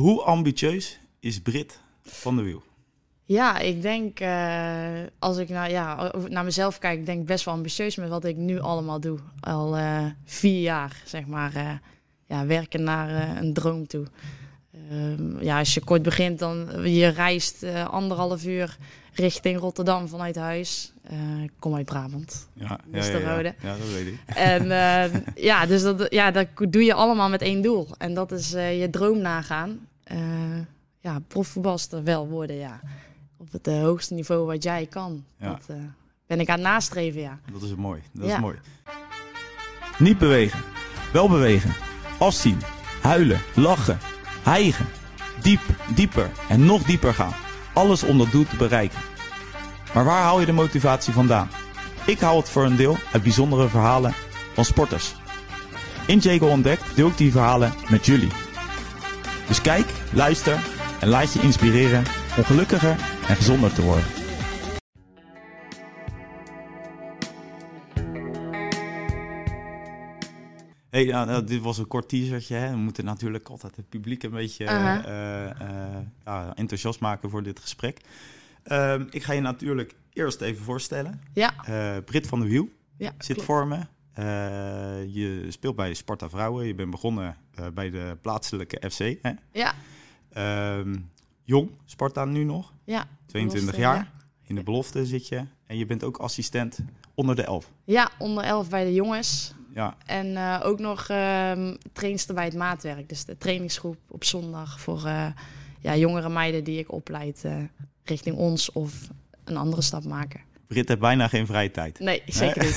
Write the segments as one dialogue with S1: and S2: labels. S1: Hoe ambitieus is Brit van de Wiel?
S2: Ja, ik denk eh, als ik naar, ja, naar mezelf kijk, denk ik best wel ambitieus met wat ik nu allemaal doe. Al eh, vier jaar, zeg maar, eh, ja, werken naar eh, een droom toe. Ehm, ja, als je kort begint, dan je reist eh, anderhalf uur richting Rotterdam vanuit huis. Eh, ik kom uit Brabant.
S1: Ja,
S2: Dus de rode.
S1: ja, dat weet ik.
S2: En eh, ja, dus dat, ja, dat doe je allemaal met één doel. En dat is eh, je droom nagaan. Eh, ja, profvoetbalster wel worden, ja. Op het eh, hoogste niveau wat jij kan.
S1: Ja.
S2: Dat eh, ben ik aan het nastreven, ja.
S1: Dat is mooi. Dat is
S2: Ja.
S1: mooi. Niet bewegen. Wel bewegen. Afzien. Huilen. Lachen. Hijgen. Diep, dieper en nog dieper gaan. Alles om dat doel te bereiken. Maar waar haal je de motivatie vandaan? Ik haal het voor een deel uit bijzondere verhalen van sporters. In Jago Ontdekt deel ik die verhalen met jullie. Dus kijk, luister en laat je inspireren om gelukkiger en gezonder te worden. Hey, nou, nou, dit was een kort teasertje. Hè. We moeten natuurlijk altijd het publiek een beetje eh,
S2: Aha.
S1: eh, eh, ja, enthousiast maken voor dit gesprek. Ehm, ik ga je natuurlijk eerst even voorstellen.
S2: Ja,
S1: Eh Brit van de Wiel
S2: ja
S1: zit
S2: klopt.
S1: voor me. Eh, je speelt bij Sparta Vrouwen. Je bent begonnen eh, bij de plaatselijke FC. Hè?
S2: Ja,
S1: Ehm, jong, Sparta nu nog.
S2: ja.
S1: 22
S2: Belofte,
S1: jaar.
S2: ja.
S1: In de belofte zit je. En je bent ook assistent onder de elf.
S2: Ja, onder 11 bij de jongens.
S1: Ja,
S2: En eh, ook nog ehm trainster bij het maatwerk. Dus de trainingsgroep op zondag voor eh, ja, jongere meiden die ik opleid eh, richting ons of een andere stap maken.
S1: Brit heeft bijna geen vrije tijd.
S2: Nee, zeker niet.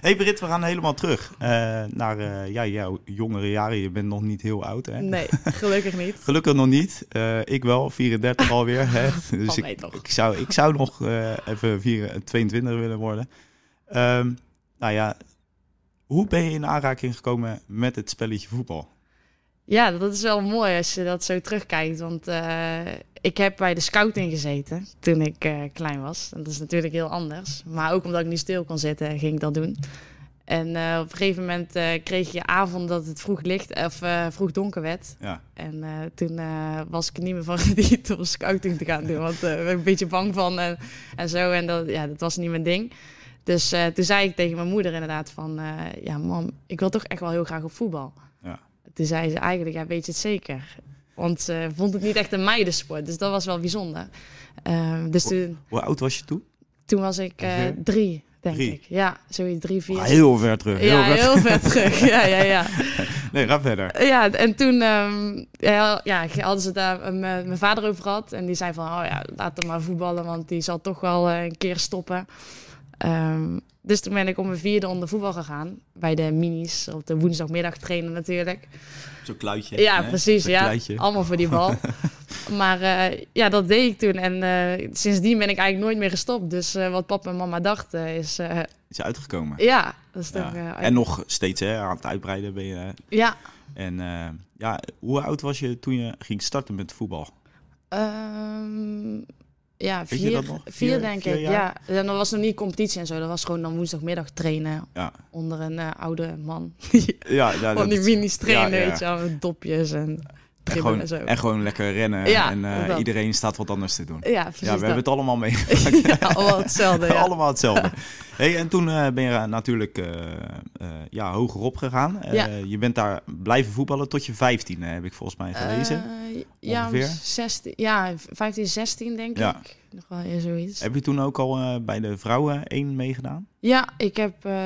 S1: hey Brit, we gaan helemaal terug eh, naar eh, ja, jouw jongere jaren. Je bent nog niet heel oud, hè?
S2: Nee, gelukkig niet.
S1: Gelukkig nog niet. Eh, ik wel, 34 alweer. Hè? Dus
S2: Valt
S1: ik,
S2: mee toch?
S1: ik, zou, ik zou nog eh, even 4, 22 willen worden. Ehm, nou ja, hoe ben je in aanraking gekomen met het spelletje voetbal?
S2: Ja, dat is wel mooi als je dat zo terugkijkt. Want eh, ik heb bij de scouting gezeten toen ik eh, klein was. En dat is natuurlijk heel anders. Maar ook omdat ik niet stil kon zitten, ging ik dat doen. En eh, op een gegeven moment eh, kreeg je avond dat het vroeg licht of eh, vroeg donker werd.
S1: Ja,
S2: En eh, toen eh, was ik er niet meer van gediend om scouting te gaan doen. Want eh, daar ben ik een beetje bang van en, en zo. En dat, ja, dat was niet mijn ding. Dus eh, toen zei ik tegen mijn moeder inderdaad van... eh, ja, mam, ik wil toch echt wel heel graag op voetbal.
S1: Ja.
S2: Toen zei ze eigenlijk, ja, weet je het zeker? Want ze vond het niet echt een meidensport. Dus dat was wel bijzonder. Eh, dus toen,
S1: hoe oud was je toen?
S2: toen was ik eh,
S1: Ongeveer?
S2: drie, denk
S1: Drie.
S2: ik. Ja, zoiets drie, vier.
S1: Ah, heel ver terug. Heel
S2: ja,
S1: ver terug.
S2: heel vet terug. Ja, ja, ja.
S1: Nee, ga verder.
S2: Ja, en toen ehm, ja, ja, hadden ze het daar met mijn vader over gehad. En die zei van, oh ja, laat hem maar voetballen, want die zal toch wel eh, een keer stoppen. Ehm, dus toen ben ik om mijn vierde onder voetbal gegaan. Bij de minis, op de woensdagmiddag trainen natuurlijk.
S1: Zo'n kluitje.
S2: Ja,
S1: hè?
S2: precies.
S1: Zo'n
S2: Ja,
S1: kluitje.
S2: allemaal voor die bal. maar eh, ja, dat deed ik toen. En eh, sindsdien ben ik eigenlijk nooit meer gestopt. Dus eh, wat papa en mama dachten is, eh,
S1: Is uitgekomen.
S2: ja, dat is
S1: Ja.
S2: toch... eh,
S1: en nog steeds hè, aan het uitbreiden ben je. hè.
S2: ja,
S1: En eh, ja, hoe oud was je toen je ging starten met voetbal?
S2: Ehm, ja,
S1: Weet
S2: vier,
S1: je dat nog?
S2: vier,
S1: Vier-
S2: denk
S1: vier
S2: ik.
S1: jaar?
S2: Ja, en dat was nog niet competitie en zo. Dat was gewoon dan woensdagmiddag trainen
S1: Ja,
S2: onder een eh, oude man. Die
S1: ja, ja
S2: van die minis trainen,
S1: ja, ja.
S2: weet je wel, met dopjes en
S1: En
S2: dribbelen en,
S1: gewoon,
S2: zo.
S1: en gewoon lekker rennen.
S2: Ja,
S1: en eh,
S2: dat.
S1: iedereen staat wat anders te doen.
S2: Ja, precies
S1: ja, we hebben het allemaal mee.
S2: dat. ja, allemaal hetzelfde. Ja.
S1: allemaal hetzelfde. Hey, en toen eh, ben je natuurlijk eh, eh, ja, hogerop gegaan. Eh,
S2: Ja.
S1: Je bent daar blijven voetballen tot je 15 heb ik volgens mij gelezen.
S2: Eh, ja,
S1: ongeveer?
S2: 16, ja, 15, 16 denk
S1: Ja.
S2: ik. Nog wel ja, zoiets.
S1: Heb je toen ook al eh, bij de vrouwen 1 meegedaan?
S2: Ja, ik heb eh,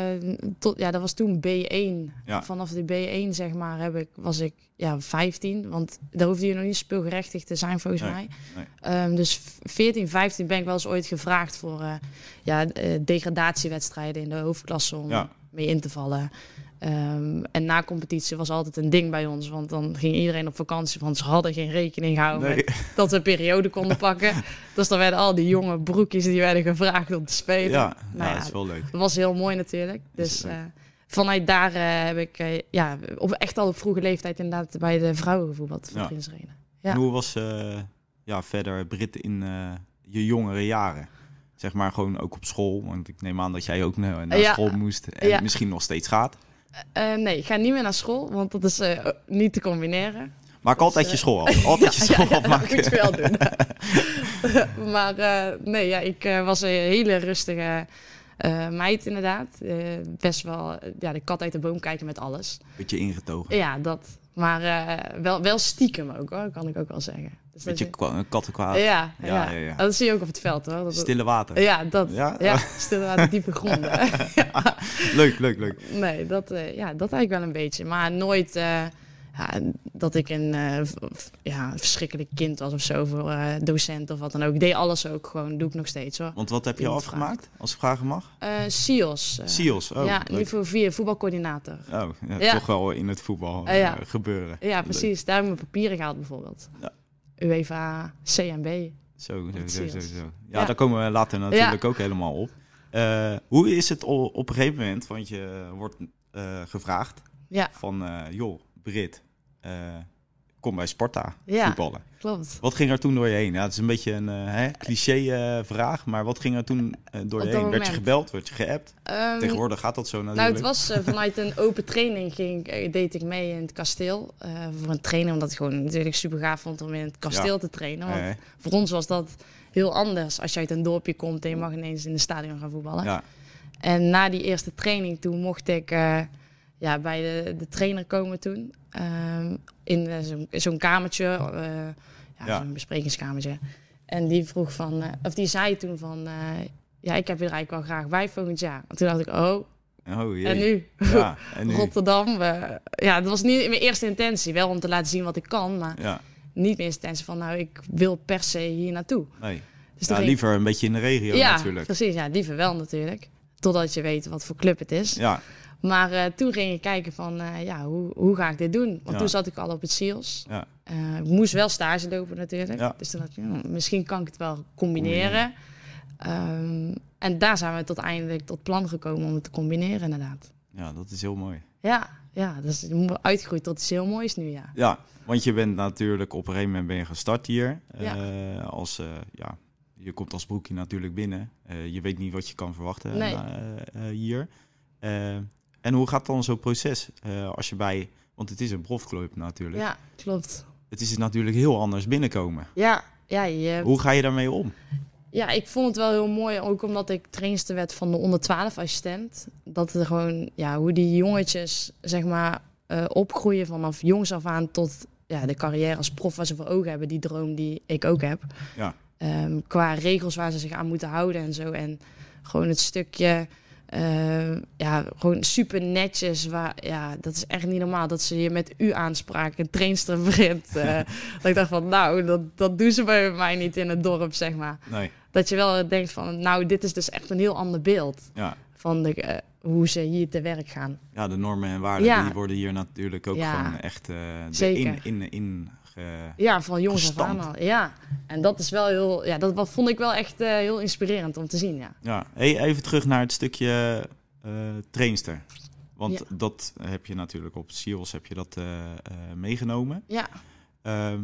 S2: tot, ja, dat was toen B1.
S1: Ja.
S2: Vanaf de B1 zeg maar heb ik, was ik ja, 15, want daar hoefde je nog niet speelgerechtigd te zijn volgens
S1: Nee,
S2: mij.
S1: nee.
S2: Ehm, dus 14, 15 ben ik wel eens ooit gevraagd voor eh, ja, eh, degradatiewedstrijden in de hoofdklasse om
S1: Ja.
S2: mee in te vallen. Ehm, en na competitie was altijd een ding bij ons, want dan ging iedereen op vakantie, want ze hadden geen rekening gehouden
S1: Nee.
S2: met dat we een periode konden pakken. Dus dan werden al die jonge broekjes die werden gevraagd om te spelen.
S1: Ja,
S2: Nou
S1: ja,
S2: ja,
S1: dat is wel leuk.
S2: Dat was heel mooi natuurlijk.
S1: Is
S2: Dus
S1: het ook.
S2: eh, vanuit daar eh, heb ik eh, ja, op, echt al op vroege leeftijd inderdaad bij de vrouwen gevoetbald voor
S1: Ja.
S2: Prins Arena. Ja.
S1: En hoe was eh, ja, verder Brit in eh, je jongere jaren? Zeg maar gewoon ook op school. Want ik neem aan dat jij ook eh, naar, naar
S2: Ja.
S1: school moest. En
S2: Ja.
S1: misschien nog steeds gaat.
S2: Eh, nee, ik ga niet meer naar school, want dat is eh, niet te combineren.
S1: Maak
S2: Dus,
S1: altijd
S2: eh,
S1: je school af. Altijd je
S2: ja,
S1: school
S2: ja,
S1: afmaken.
S2: Dat moet je wel doen. maar eh, nee, ja, ik eh, was een hele rustige eh, meid inderdaad. Eh, best wel eh, ja, de kat uit de boom kijken met alles.
S1: Beetje ingetogen.
S2: Ja, dat. Maar eh, wel, wel stiekem ook hoor, kan ik ook wel zeggen. Dus dat
S1: Beetje
S2: je-
S1: kwa- kattenkwaad.
S2: ja, ja,
S1: Ja, ja, ja.
S2: Dat zie je ook op het veld hoor. Dat,
S1: Stille water.
S2: Ja, dat.
S1: Ja?
S2: Ja, stil aan de diepe gronden.
S1: Leuk, leuk, leuk.
S2: Nee, dat, eh, ja, dat eigenlijk wel een beetje. Maar nooit eh, ja, dat ik een eh, v- v- ja, een verschrikkelijk kind was of zo voor eh, docent of wat dan ook. Ik deed alles ook gewoon, doe ik nog steeds hoor.
S1: Want wat heb je
S2: Iemand
S1: afgemaakt, als ik vragen mag?
S2: Eh SIOS. eh,
S1: SIOS. Oh,
S2: ja,
S1: leuk.
S2: niveau 4, voetbalcoördinator.
S1: Oh, ja,
S2: Ja.
S1: toch wel in het voetbal
S2: Eh, ja.
S1: eh, gebeuren.
S2: Ja, precies. Daar heb ik mijn papieren gehaald bijvoorbeeld.
S1: Ja.
S2: UEFA, CMB.
S1: Zo, zo,
S2: Wat
S1: zo, zo,
S2: serieus.
S1: zo. Ja,
S2: Ja.
S1: daar komen we later natuurlijk ook helemaal op. Eh, hoe is het o- op een gegeven moment, want je wordt eh, gevraagd
S2: Ja.
S1: van, eh, joh, Brit, eh, kom bij Sparta
S2: Ja.
S1: voetballen.
S2: Klopt.
S1: Wat ging er toen door je heen? Ja, het is een beetje een eh, hè, cliché eh, vraag, maar wat ging er toen eh, door
S2: Op
S1: je
S2: dat
S1: heen? Werd je
S2: moment.
S1: gebeld? Werd je geappt?
S2: Ehm,
S1: Tegenwoordig gaat dat zo
S2: Nou,
S1: natuurlijk.
S2: het was eh, vanuit een open training ging, eh, deed ik mee in het kasteel. eh, voor een trainer, omdat ik gewoon natuurlijk super gaaf vond om in het kasteel te trainen. Want
S1: Eh,
S2: voor ons was dat heel anders. Als je uit een dorpje komt en je mag ineens in de stadion gaan voetballen.
S1: ja.
S2: En na die eerste training toen mocht ik eh, ja, bij de, de trainer komen toen. Ehm, in eh, zo'n, zo'n kamertje, eh, ja,
S1: Ja.
S2: zo'n besprekingskamertje. En die vroeg van, eh, of die zei toen van, eh, ja, ik heb je er eigenlijk wel graag bij volgend jaar. En toen dacht ik, oh,
S1: Oh, jee.
S2: en nu?
S1: Ja, en nu?
S2: Rotterdam. eh, ja, dat was niet mijn eerste intentie. Wel om te laten zien wat ik kan, maar
S1: Ja,
S2: niet mijn intentie van, nou, ik wil per se hier naartoe.
S1: nee.
S2: Dus toen
S1: Ja,
S2: ging-
S1: liever een beetje in de regio
S2: ja,
S1: natuurlijk.
S2: precies. Ja, liever wel natuurlijk. Totdat je weet wat voor club het is.
S1: Ja,
S2: Maar eh, toen ging ik kijken van, eh, ja, hoe, hoe ga ik dit doen? Want
S1: Ja.
S2: toen zat ik al op het SEALS.
S1: ja.
S2: Eh, ik moest wel stage lopen natuurlijk.
S1: Ja.
S2: Dus toen dacht ik, hm, misschien kan ik het wel combineren. Ehm, en daar zijn we tot eindelijk tot plan gekomen om het te combineren inderdaad.
S1: ja, dat is heel mooi.
S2: Ja, ja, dat is uitgegroeid tot iets heel moois nu, ja.
S1: Ja, want je bent natuurlijk op een gegeven moment ben je gestart hier.
S2: Ja.
S1: Eh, als, eh, ja, je komt als broekje natuurlijk binnen. Eh, je weet niet wat je kan verwachten
S2: Nee.
S1: eh, eh, hier. Eh, en hoe gaat dan zo'n proces eh, als je bij... Want het is een profclub natuurlijk.
S2: Ja, klopt.
S1: Het is natuurlijk heel anders binnenkomen.
S2: Ja, ja, je,
S1: Hoe ga je daarmee om?
S2: ja, ik vond het wel heel mooi, ook omdat ik trainster werd van de onder 12 assistent. Dat er gewoon, ja, hoe die jongetjes, zeg maar, eh, opgroeien vanaf jongs af aan tot ja, de carrière als prof waar ze voor ogen hebben. Die droom die ik ook heb.
S1: Ja.
S2: Ehm, qua regels waar ze zich aan moeten houden en zo. En gewoon het stukje, ehm, ja, gewoon super netjes. Waar, ja, dat is echt niet normaal dat ze je met u aanspraak een trainster begint. eh. dat ik dacht van, nou, dat, dat doen ze bij mij niet in het dorp, zeg maar.
S1: Nee,
S2: Dat je wel denkt van, nou, dit is dus echt een heel ander beeld
S1: ja.
S2: van de, eh, hoe ze hier te werk gaan.
S1: Ja, de normen en waarden
S2: Ja.
S1: die worden hier natuurlijk ook
S2: Ja.
S1: gewoon echt eh erin in,
S2: Zeker.
S1: in, in ge-
S2: Ja, van jongens af aan
S1: Gestand.
S2: al. Ja, en dat is wel heel, ja, dat wa- vond ik wel echt eh, heel inspirerend om te zien, ja.
S1: Ja, hey, even terug naar het stukje eh, trainster. Want
S2: Ja.
S1: dat heb je natuurlijk op SEALS heb je dat eh, eh, meegenomen.
S2: Ja.
S1: Ehm,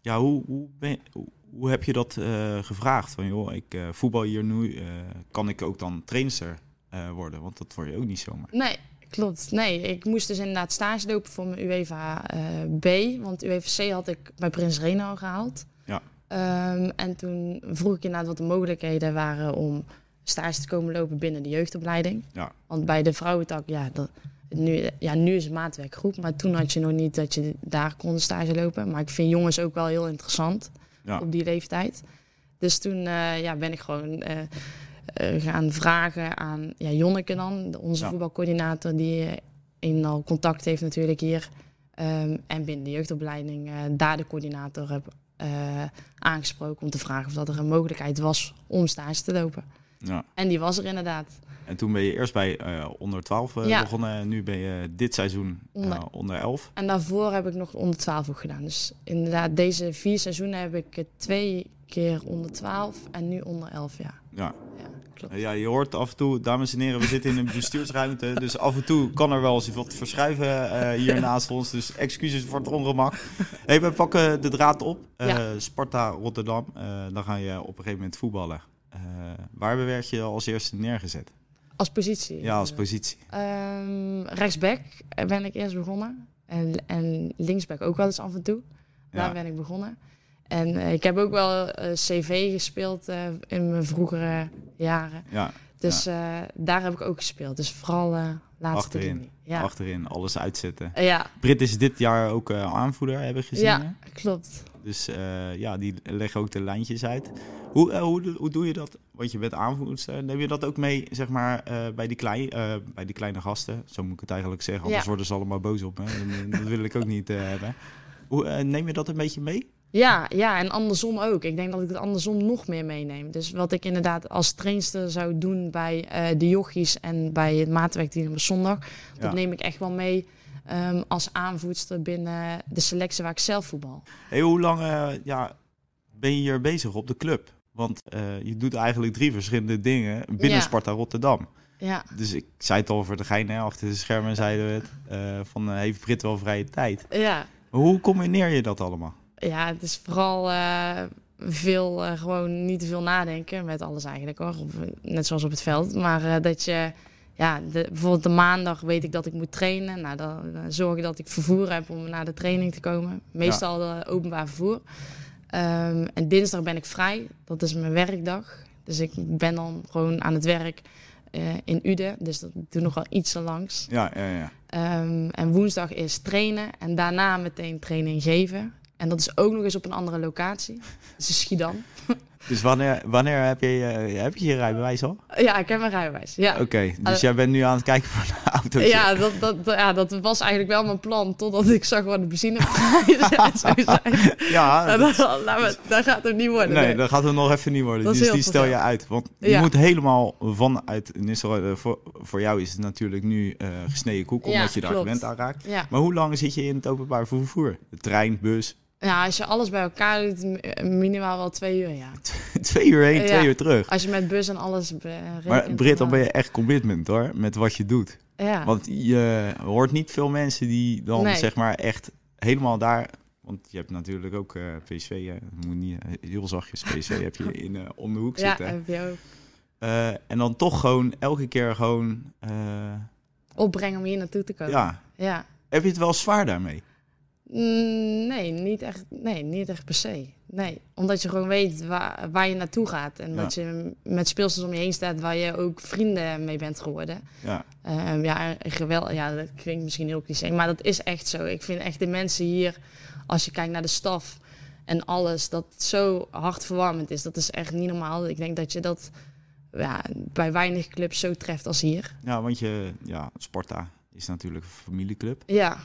S1: ja, hoe, hoe, ben je- hoe- hoe heb je dat eh, gevraagd? Van joh, ik eh, voetbal hier nu, eh, kan ik ook dan trainster eh, worden? Want dat word je ook niet zomaar.
S2: Nee, klopt. Nee, ik moest dus inderdaad stage lopen voor mijn UEFA eh, B. Want UEFA C had ik bij Prins Reno al gehaald.
S1: Ja.
S2: Ehm, en toen vroeg ik inderdaad wat de mogelijkheden waren om stage te komen lopen binnen de jeugdopleiding.
S1: Ja.
S2: Want bij de vrouwentak, ja, dat, nu, ja, nu is het maatwerkgroep. Maar toen had je nog niet dat je daar kon stage lopen. Maar ik vind jongens ook wel heel interessant
S1: Ja.
S2: op die leeftijd. Dus toen eh, ja, ben ik gewoon eh, eh, gaan vragen aan ja, Jonneke dan, de- onze
S1: Ja.
S2: voetbalcoördinator, die eh, een al contact heeft natuurlijk hier. Ehm, en binnen de jeugdopleiding eh, daar de coördinator heb eh, aangesproken om te vragen of dat er een mogelijkheid was om stage te lopen.
S1: Ja.
S2: En die was er inderdaad.
S1: En toen ben je eerst bij eh, onder 12 eh,
S2: Ja.
S1: begonnen. En nu ben je dit seizoen eh,
S2: Onder-
S1: onder 11.
S2: En daarvoor heb ik nog onder 12 ook gedaan. Dus inderdaad, deze vier seizoenen heb ik eh, twee keer onder 12 en nu onder 11 jaar.
S1: Ja.
S2: Ja, klopt.
S1: Nou Ja, je hoort af en toe, dames en heren, we zitten in een bestuursruimte. Dus af en toe kan er wel eens wat verschuiven eh, hier naast ons. Dus excuses voor het ongemak. Hey, we pakken de draad op. Eh,
S2: Ja.
S1: Sparta, Rotterdam. eh, dan ga je op een gegeven moment voetballen. Eh, waar werd je als eerste neergezet?
S2: Als positie.
S1: Ja, als positie.
S2: Ehm, rechtsback ben ik eerst begonnen. En, en linksback ook wel eens af en toe. Daar
S1: Ja.
S2: ben ik begonnen. En eh, ik heb ook wel eh, CV gespeeld eh, in mijn vroegere jaren.
S1: Ja,
S2: Dus eh, daar heb ik ook gespeeld. Dus vooral eh laatste
S1: Achterin.
S2: linie. Ja.
S1: achterin, alles uitzetten.
S2: ja,
S1: Brit is dit jaar ook eh, aanvoerder, hebben we gezien.
S2: Ja.
S1: hè?
S2: klopt.
S1: Dus eh, ja, die leggen ook de lijntjes uit. Hoe, eh, hoe, doe- hoe doe je dat? Want je bent aanvoerster. Neem je dat ook mee, zeg maar, eh, bij, die klei, eh, bij die kleine gasten? Zo moet ik het eigenlijk zeggen, anders
S2: Ja.
S1: worden ze allemaal boos op me. En dat wil ik ook niet eh, hebben. Hoe, eh, neem je dat een beetje mee?
S2: Ja, ja, en andersom ook. Ik denk dat ik het andersom nog meer meeneem. Dus wat ik inderdaad als trainster zou doen bij eh, de jochies en bij het maatwerkteam op zondag, dat
S1: Ja.
S2: neem ik echt wel mee ehm, als aanvoedster binnen de selectie waar ik zelf voetbal.
S1: Hey, hoe lang eh, ja, ben je hier bezig op de club? Want eh, je doet eigenlijk drie verschillende dingen binnen
S2: Ja.
S1: Sparta Rotterdam.
S2: Ja,
S1: Dus ik zei het al voor de gein, hè, achter de schermen zeiden we het. eh, van, eh, heeft Brit wel vrije tijd?
S2: ja.
S1: Hoe combineer je dat allemaal?
S2: ja het is vooral eh, veel, eh, gewoon niet te veel nadenken met alles eigenlijk hoor. Op- net zoals op het veld. Maar eh, dat je, ja, de, bijvoorbeeld de maandag weet ik dat ik moet trainen. Nou, dan, dan zorg ik dat ik vervoer heb om naar de training te komen. Meestal eh, openbaar vervoer. Ehm, en dinsdag ben ik vrij. Dat is mijn werkdag. Dus ik ben dan gewoon aan het werk eh, in Uden. Dus dat doe nog wel iets te langs.
S1: Ja, ja, ja.
S2: Ehm, en woensdag is trainen en daarna meteen training geven. En dat is ook nog eens op een andere locatie. Dat is Schiedam.
S1: Dus wanneer, wanneer heb, je, eh, heb je je rijbewijs al?
S2: Ja, ik heb mijn rijbewijs. Ja,
S1: Oké, dus
S2: Eh,
S1: jij bent nu aan het kijken voor de auto.
S2: ja, dat, dat, dat- ja, dat was eigenlijk wel mijn plan. Totdat ik zag wat de benzineprijzen en zo zijn.
S1: ja
S2: En
S1: dat,
S2: dan, laat maar, dat gaat het niet worden.
S1: nee,
S2: nee.
S1: dat gaat het nog even niet worden.
S2: Dat is
S1: Dus
S2: heel
S1: die stel je
S2: vervelend.
S1: uit. Want je
S2: Ja.
S1: moet helemaal vanuit... Nissel, eh, voor, voor jou is het natuurlijk nu eh, gesneden koek,
S2: Ja,
S1: omdat je daar
S2: klopt.
S1: gewend aan raakt.
S2: Ja.
S1: Maar hoe lang zit je in het openbaar vervoer? De trein, bus,
S2: ja, als je alles bij elkaar doet, m- eh, minimaal wel twee uur. Ja.
S1: twee uur heen,
S2: Ja.
S1: twee uur terug.
S2: Als je met bus en alles be- rekent.
S1: Maar Britt, dan
S2: dan-
S1: ben je echt commitment hoor, met wat je doet.
S2: Ja.
S1: Want je hoort niet veel mensen die dan
S2: Nee.
S1: zeg maar echt helemaal daar. Want je hebt natuurlijk ook eh PSV, hè. Je moet niet heel zachtjes PSV heb je in eh, om de hoek
S2: ja,
S1: zitten.
S2: heb je ook.
S1: Eh, en dan toch gewoon elke keer gewoon, eh,
S2: Opbrengen om hier naartoe te komen.
S1: ja.
S2: ja.
S1: Heb je het wel zwaar daarmee?
S2: Mm, Nee, niet echt, nee, niet echt per se. Nee, omdat je gewoon weet waar, waar je naartoe gaat. En
S1: Ja.
S2: dat je met speelsters om je heen staat waar je ook vrienden mee bent geworden.
S1: Ja,
S2: Ehm, ja, geweld, ja, dat klinkt misschien heel cliché, maar dat is echt zo. Ik vind echt de mensen hier, als je kijkt naar de staf en alles, dat het zo hartverwarmend is. Dat is echt niet normaal. Ik denk dat je dat ja, bij weinig clubs zo treft als hier.
S1: ja want je, ja, Sparta is natuurlijk een familieclub.
S2: Ja,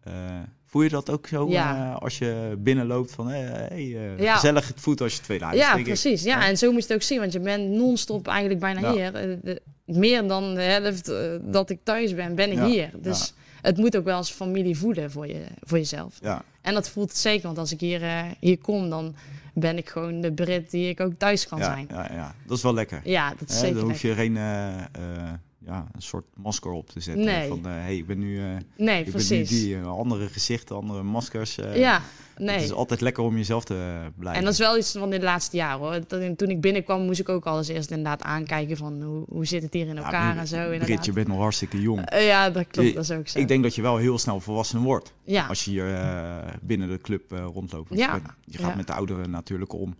S1: Eh, voel je dat ook zo
S2: Ja.
S1: eh, als je binnenloopt van hey, hey, eh,
S2: Ja.
S1: gezellig het voet als je het tweede huis
S2: ja,
S1: denk ik.
S2: precies. Ja,
S1: Ja.
S2: en zo moet je het ook zien, want je bent non-stop eigenlijk bijna
S1: Ja.
S2: hier. Eh, de- meer dan de helft eh, dat ik thuis ben, ben ik
S1: Ja,
S2: hier. Dus het moet ook wel als familie voelen voor, je, voor jezelf.
S1: Ja,
S2: En dat voelt het zeker, want als ik hier, eh, hier kom, dan ben ik gewoon de Brit die ik ook thuis kan
S1: ja,
S2: zijn.
S1: ja, ja, dat is wel lekker.
S2: Ja, dat is
S1: Hè,
S2: zeker.
S1: dan hoef
S2: lekker.
S1: je geen eh, eh, ja, een soort masker op te zetten.
S2: Nee.
S1: Van, eh, hey, ik ben nu, eh,
S2: Nee,
S1: ik ben nu
S2: precies.
S1: die. eh, andere gezichten, andere maskers. eh,
S2: ja, nee.
S1: Het is altijd lekker om jezelf te eh, blijven.
S2: En dat is wel iets van dit laatste jaar hoor. Dat- Toen ik binnenkwam moest ik ook alles eerst inderdaad aankijken van hoe, hoe zit het hier in
S1: Ja,
S2: elkaar
S1: Brit-
S2: en zo. Inderdaad.
S1: Brit, je bent nog hartstikke jong.
S2: Eh, ja, dat klopt.
S1: Je-
S2: Dat is ook zo.
S1: ik denk dat je wel heel snel volwassen wordt.
S2: ja,
S1: Als je hier eh, binnen de club eh, rondloopt. Want
S2: Ja.
S1: Je, bent- je gaat
S2: Ja.
S1: met de ouderen natuurlijk om.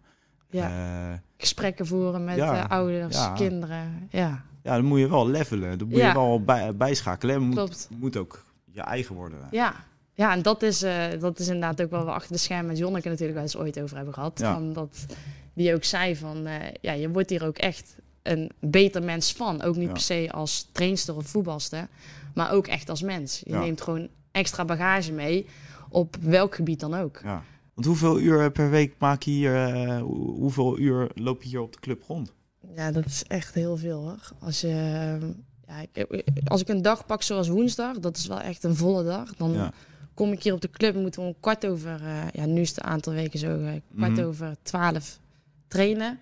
S2: ja.
S1: Eh,
S2: gesprekken voeren met
S1: Ja,
S2: eh, ouders,
S1: ja.
S2: kinderen. Ja,
S1: ja, dan moet je wel levelen. Dan moet je
S2: Ja.
S1: wel bij, bijschakelen. En moet,
S2: klopt.
S1: moet ook je eigen worden.
S2: Ja. Ja, en dat is, eh, dat is inderdaad ook wel wat we achter de schermen met Jonneke natuurlijk wel eens ooit over hebben gehad.
S1: Ja.
S2: Van dat, die ook zei van, eh, ja, je wordt hier ook echt een beter mens van. Ook niet
S1: Ja.
S2: per se als trainster of voetbalster, maar ook echt als mens. Je
S1: Ja.
S2: neemt gewoon extra bagage mee op welk gebied dan ook.
S1: Ja. Want hoeveel uur per week maak je hier, eh, hoe- hoeveel uur loop je hier op de club rond?
S2: Ja, dat is echt heel veel hoor. Als, je, ehm, ja, ik, als ik een dag pak zoals woensdag, dat is wel echt een volle dag. Dan
S1: Ja.
S2: kom ik hier op de club, moeten we om kwart over, eh, ja nu is het een aantal weken zo, eh, kwart
S1: Mhm.
S2: over twaalf trainen.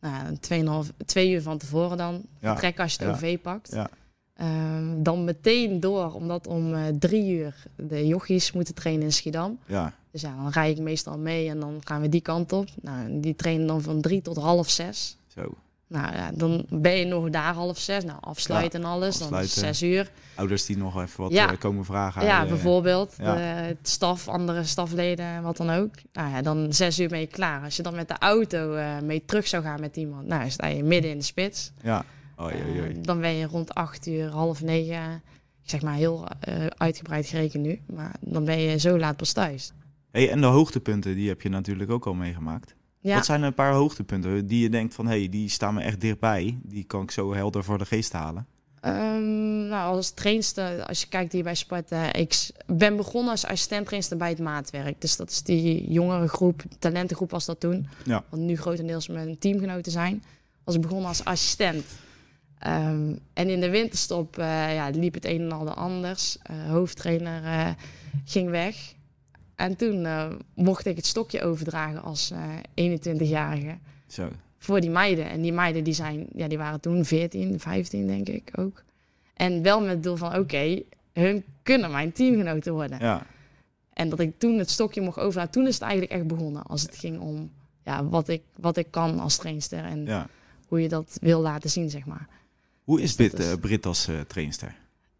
S2: Nou, een tweeënhalf, twee uur van tevoren dan,
S1: Ja.
S2: vertrekken als je het
S1: Ja.
S2: OV pakt.
S1: Ja.
S2: Ehm, dan meteen door, omdat om eh, drie uur de jochies moeten trainen in Schiedam.
S1: Ja,
S2: Dus ja, dan rij ik meestal mee en dan gaan we die kant op. Nou, die trainen dan van drie tot half zes.
S1: zo.
S2: Nou ja, dan ben je nog daar half zes. Nou, afsluiten en alles. Dan is
S1: afsluiten.
S2: het zes uur.
S1: Ouders die nog even wat
S2: Ja.
S1: eh, komen vragen.
S2: ja,
S1: eh,
S2: bijvoorbeeld.
S1: ja.
S2: De, het staf, andere stafleden, wat dan ook. Nou ja, dan zes uur ben je klaar. Als je dan met de auto eh, mee terug zou gaan met iemand. Nou, dan sta je midden in de spits.
S1: Ja. Oei, oei, oei.
S2: Eh, dan ben je rond acht uur, half negen. Ik zeg maar heel eh, uitgebreid gerekend nu. Maar dan ben je zo laat pas thuis.
S1: Hey, en de hoogtepunten, die heb je natuurlijk ook al meegemaakt.
S2: Ja.
S1: Wat zijn een paar hoogtepunten die je denkt van... hé, hey, die staan me echt dichtbij. Die kan ik zo helder voor de geest halen.
S2: Ehm, nou, als trainster, als je kijkt hier bij Sparta, ik s- ben begonnen als assistent trainster bij het maatwerk. Dus dat is die jongere groep, talentengroep was dat toen.
S1: Ja.
S2: Wat nu grotendeels mijn teamgenoten zijn. Was ik begonnen als assistent. Ehm, en in de winterstop eh, ja, liep het een en ander anders. Eh, hoofdtrainer eh, ging weg. En toen eh, mocht ik het stokje overdragen als eh 21-jarige
S1: Zo.
S2: voor die meiden. En die meiden die zijn, ja, die waren toen 14, 15 denk ik ook. En wel met het doel van, oké, hun kunnen mijn teamgenoten worden.
S1: Ja.
S2: En dat ik toen het stokje mocht overlaten, toen is het eigenlijk echt begonnen. Als het ging om ja, wat, ik, wat ik kan als trainster en
S1: ja.
S2: hoe je dat wil laten zien, zeg maar.
S1: Hoe is
S2: Dus dat
S1: Brit,
S2: is-
S1: eh, Brit als eh, trainster?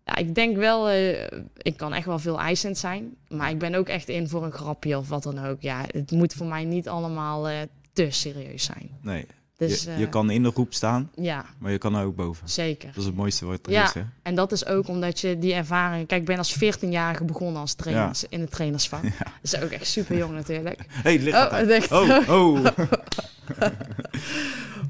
S2: Ja, ik denk wel, eh, ik kan echt wel veel eisend zijn. Maar ik ben ook echt in voor een grapje of wat dan ook. Ja, het moet voor mij niet allemaal eh, te serieus zijn.
S1: Nee,
S2: Dus
S1: je,
S2: eh,
S1: je kan in de groep staan,
S2: ja,
S1: maar je kan er ook boven.
S2: zeker.
S1: Dat is het mooiste wat er
S2: Ja.
S1: is, hè?
S2: En dat is ook omdat je die ervaring... Kijk, ik ben als 14-jarige begonnen als trainers in het trainersvak. Dat is ook echt super jong natuurlijk.
S1: Hé, hey, ligt
S2: Oh,
S1: uit.
S2: denk-
S1: Oh, oh.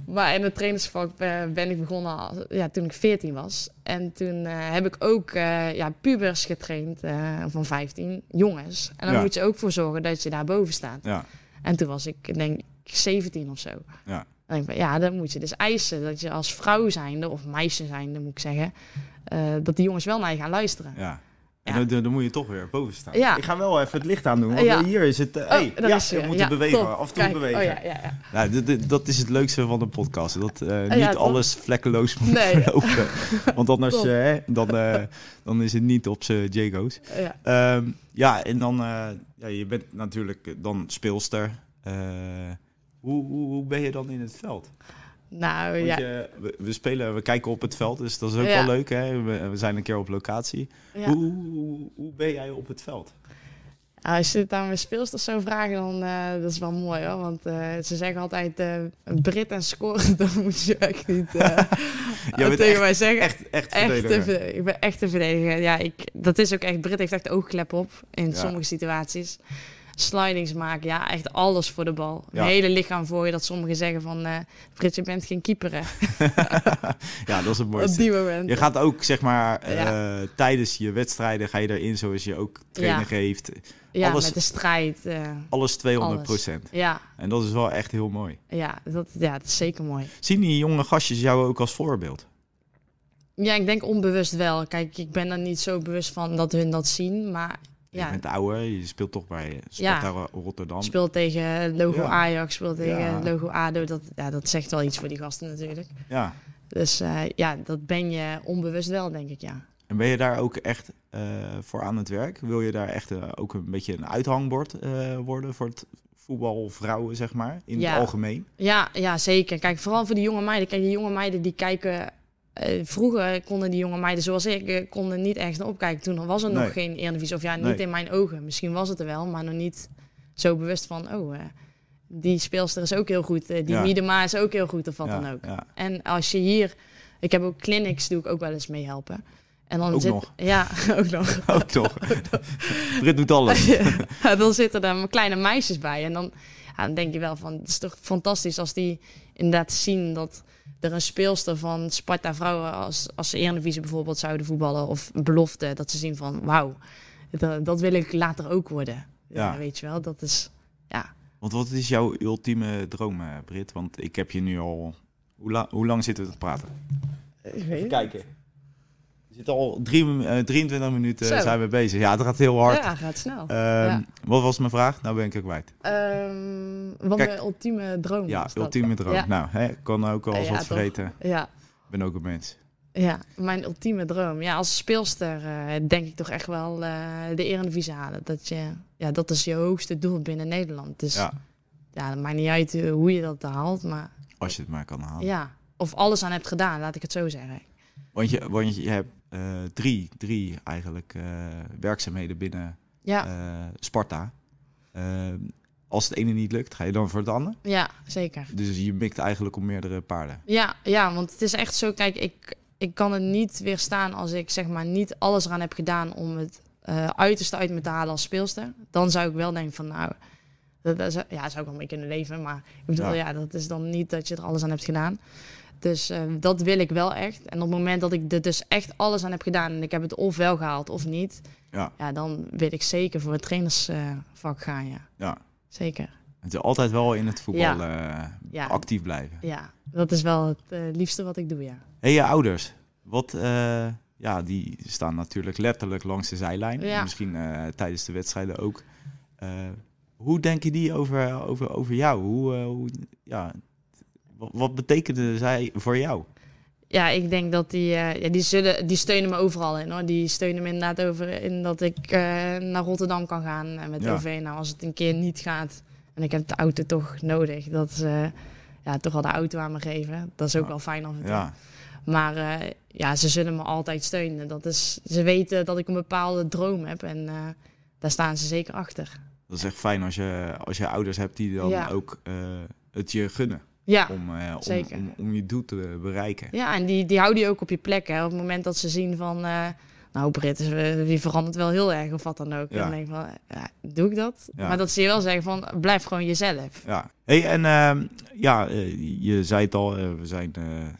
S2: Maar in het trainersvak eh, ben ik begonnen als- ja, toen ik 14 was. En toen eh, heb ik ook eh, ja, pubers getraind eh, van 15, jongens. En dan
S1: Ja.
S2: moet je ook voor zorgen dat je daarboven staat.
S1: Ja,
S2: En toen was ik denk ik 17 of zo.
S1: Ja.
S2: Dan denk ik, van, ja, dan moet je dus eisen dat je als vrouw zijnde of meisje zijnde moet ik zeggen... eh, dat die jongens wel naar je gaan luisteren.
S1: ja. En
S2: Ja.
S1: dan- dan, dan moet je toch weer boven staan.
S2: Ja.
S1: Ik ga wel even het licht aan doen, want
S2: Ja.
S1: hier is het... eh, hey,
S2: daar
S1: ja,
S2: Oh, is
S1: je
S2: hij weer.
S1: moet
S2: Ja,
S1: bewegen,
S2: top.
S1: af en toe
S2: Kijk,
S1: bewegen.
S2: Oh, ja, ja, ja.
S1: Nou, dit- dit- dat is het leukste van een podcast. Dat eh, niet
S2: Oh, ja, toch?
S1: alles vlekkeloos moet
S2: Nee.
S1: verlopen. Want anders
S2: Top.
S1: eh, hè, dan, eh, dan is het niet op zijn Jago's.
S2: Oh Ja.
S1: Ehm, ja, en dan... eh, ja, je bent natuurlijk dan speelster. Eh, hoe, hoe, hoe ben je dan in het veld?
S2: Nou
S1: Want
S2: ja.
S1: je- we, we spelen, we kijken op het veld, dus dat is ook
S2: Ja.
S1: wel leuk. Hè? We, we zijn een keer op locatie.
S2: ja.
S1: Hoe, hoe, hoe ben jij op het veld?
S2: Nou, als je het aan mijn speelsters zou vragen, dan eh, dat is wel mooi hoor. Want eh, ze zeggen altijd: eh, Brit en scoren, dat moet je echt niet eh,
S1: bent
S2: tegen mij zeggen.
S1: Echt, echt,
S2: Echt te
S1: verdediger.
S2: verde- ik ben echt te verdedigen. Ja, ik, dat is ook echt. Brit heeft echt oogklep op in
S1: Ja.
S2: sommige situaties. Slidings maken, ja, echt alles voor de bal.
S1: Ja.
S2: Een hele lichaam voor je, dat sommigen zeggen van... eh Brit, je bent geen keeper, hè?
S1: ja, dat is het
S2: Op
S1: mooiste.
S2: die moment.
S1: Je gaat ook, zeg maar,
S2: Ja.
S1: eh, tijdens je wedstrijden ga je erin zoals je ook trainen
S2: Ja.
S1: geeft.
S2: ja,
S1: alles-
S2: met de strijd. eh,
S1: Alles 200 procent.
S2: ja,
S1: En dat is wel echt heel mooi.
S2: ja, dat, ja, dat is zeker mooi.
S1: Zien die jonge gastjes jou ook als voorbeeld?
S2: Ja, ik denk onbewust wel. Kijk, ik ben er niet zo bewust van dat hun dat zien. Maar
S1: Je
S2: ja,
S1: bent ouder, je speelt toch bij Sparta Rotterdam.
S2: speel tegen logo
S1: Ja.
S2: Ajax, speel tegen
S1: Ja.
S2: logo ADO. Dat, ja, dat zegt wel iets voor die gasten natuurlijk.
S1: Ja.
S2: Dus eh, ja, dat ben je onbewust wel, denk ik, ja.
S1: En ben je daar ook echt eh, voor aan het werk? Wil je daar echt eh, ook een beetje een uithangbord eh, worden voor het voetbal vrouwen, zeg maar, in
S2: Ja.
S1: het algemeen?
S2: Ja, ja, zeker. Kijk, vooral voor die jonge meiden. Kijk, die jonge meiden die kijken... eh, vroeger konden die jonge meiden zoals ik eh, konden niet ergens naar opkijken. Toen was er
S1: Nee.
S2: nog geen Eredivisie. Of ja, niet
S1: Nee.
S2: in mijn ogen. Misschien was het er wel, maar nog niet zo bewust van... Oh, eh, die speelster is ook heel goed. eh, die
S1: Ja.
S2: Miedema is ook heel goed of wat
S1: Ja,
S2: dan ook.
S1: ja.
S2: En als je hier... Ik heb ook clinics, doe ik ook wel eens meehelpen. En dan
S1: Ook
S2: zit,
S1: nog?
S2: Ja, ook nog.
S1: Ook Oh, toch? Brit doet alles.
S2: Ja, dan zitten er maar kleine meisjes bij. En dan, ja, dan denk je wel van, het is toch fantastisch als die inderdaad zien dat er een speelster van Sparta vrouwen, als, als ze Eredivisie bijvoorbeeld zouden voetballen of een belofte, dat ze zien van, wauw, dat, dat wil ik later ook worden. Ja.
S1: Ja.
S2: weet je wel, dat is, ja.
S1: Want wat is jouw ultieme droom, eh, Brit? Want ik heb je nu al... Hoe, la- hoe lang zitten we te praten? kijken. We zitten al drie, eh, 23 minuten
S2: Zo.
S1: zijn we bezig. Ja, het gaat heel hard.
S2: Ja, gaat snel.
S1: Ehm,
S2: Ja.
S1: Wat was mijn vraag? Nou ben ik er kwijt.
S2: Ehm, wat
S1: Kijk.
S2: mijn ultieme droom
S1: Ja,
S2: was Oh, dat.
S1: ultieme droom.
S2: Ja.
S1: Nou, hè, ik kan ook wel eens
S2: Ja,
S1: wat
S2: toch.
S1: vergeten.
S2: Ja,
S1: Ik ben ook een mens.
S2: ja, mijn ultieme droom. Ja, als speelster eh, denk ik toch echt wel eh, de Eredivisie halen. Dat, je, ja, dat is je hoogste doel binnen Nederland. Dus
S1: Ja,
S2: ja, het maakt niet uit eh, hoe je dat haalt, maar
S1: als je het maar kan halen.
S2: ja, of alles aan hebt gedaan, laat ik het zo zeggen.
S1: Want je, want je hebt eh, drie, drie eigenlijk eh, werkzaamheden binnen
S2: Ja,
S1: eh, Sparta. Eh, als het ene niet lukt, ga je dan voor het ander.
S2: ja zeker.
S1: Dus je mikt eigenlijk op meerdere paarden.
S2: Ja, ja, want het is echt zo. Kijk, ik, ik kan het niet weerstaan als ik zeg maar niet alles eraan heb gedaan om het eh, uiterste uit me te halen als speelster. Dan zou ik wel denken van nou, dat, dat zou- ja, zou ik wel mee kunnen leven. Maar ik bedoel,
S1: Ja.
S2: ja. dat is dan niet dat je er alles aan hebt gedaan. Dus eh, dat wil ik wel echt. En op het moment dat ik er dus echt alles aan heb gedaan en ik heb het of wel gehaald of niet,
S1: Ja.
S2: ja dan weet ik zeker voor het trainersvak gaan. Ja,
S1: Ja.
S2: zeker.
S1: Het is altijd wel in het voetbal eh,
S2: Ja.
S1: actief blijven.
S2: Ja, dat is wel het eh, liefste wat ik doe. Ja.
S1: Hé, je ouders. Wat, eh, ja, die staan natuurlijk letterlijk langs de zijlijn.
S2: Ja.
S1: Misschien eh, tijdens de wedstrijden ook. Eh, hoe denken die over, over, over jou? Hoe, eh, hoe, ja, wat, wat betekenen zij voor jou?
S2: Ja, ik denk dat die, eh, ja, die, zullen, die steunen me overal in hoor. Die steunen me inderdaad over in dat ik eh, naar Rotterdam kan gaan eh, met
S1: Ja.
S2: OV. Nou, als het een keer niet gaat en ik heb de auto toch nodig, dat ze ja, toch wel de auto aan me geven. Dat is ook
S1: Ja.
S2: wel fijn af en toe.
S1: Ja,
S2: Maar eh, ja, ze zullen me altijd steunen. Dat is, ze weten dat ik een bepaalde droom heb en eh, daar staan ze zeker achter.
S1: dat is echt fijn als je, als je ouders hebt die dan
S2: Ja.
S1: ook eh, het je gunnen
S2: Ja.
S1: om, eh, om,
S2: zeker.
S1: om, om je doel te bereiken.
S2: Ja, en die, die houden je ook op je plek. Hè. Op het moment dat ze zien van, eh, nou Britt, is, eh, die verandert wel heel erg of wat dan ook.
S1: Ja.
S2: Dan denk ik van, ja, doe ik dat?
S1: Ja.
S2: Maar dat ze je wel zeggen van, blijf gewoon jezelf.
S1: Ja. Hey, en ehm, ja, eh, je zei het al, eh, we zijn eh, eh,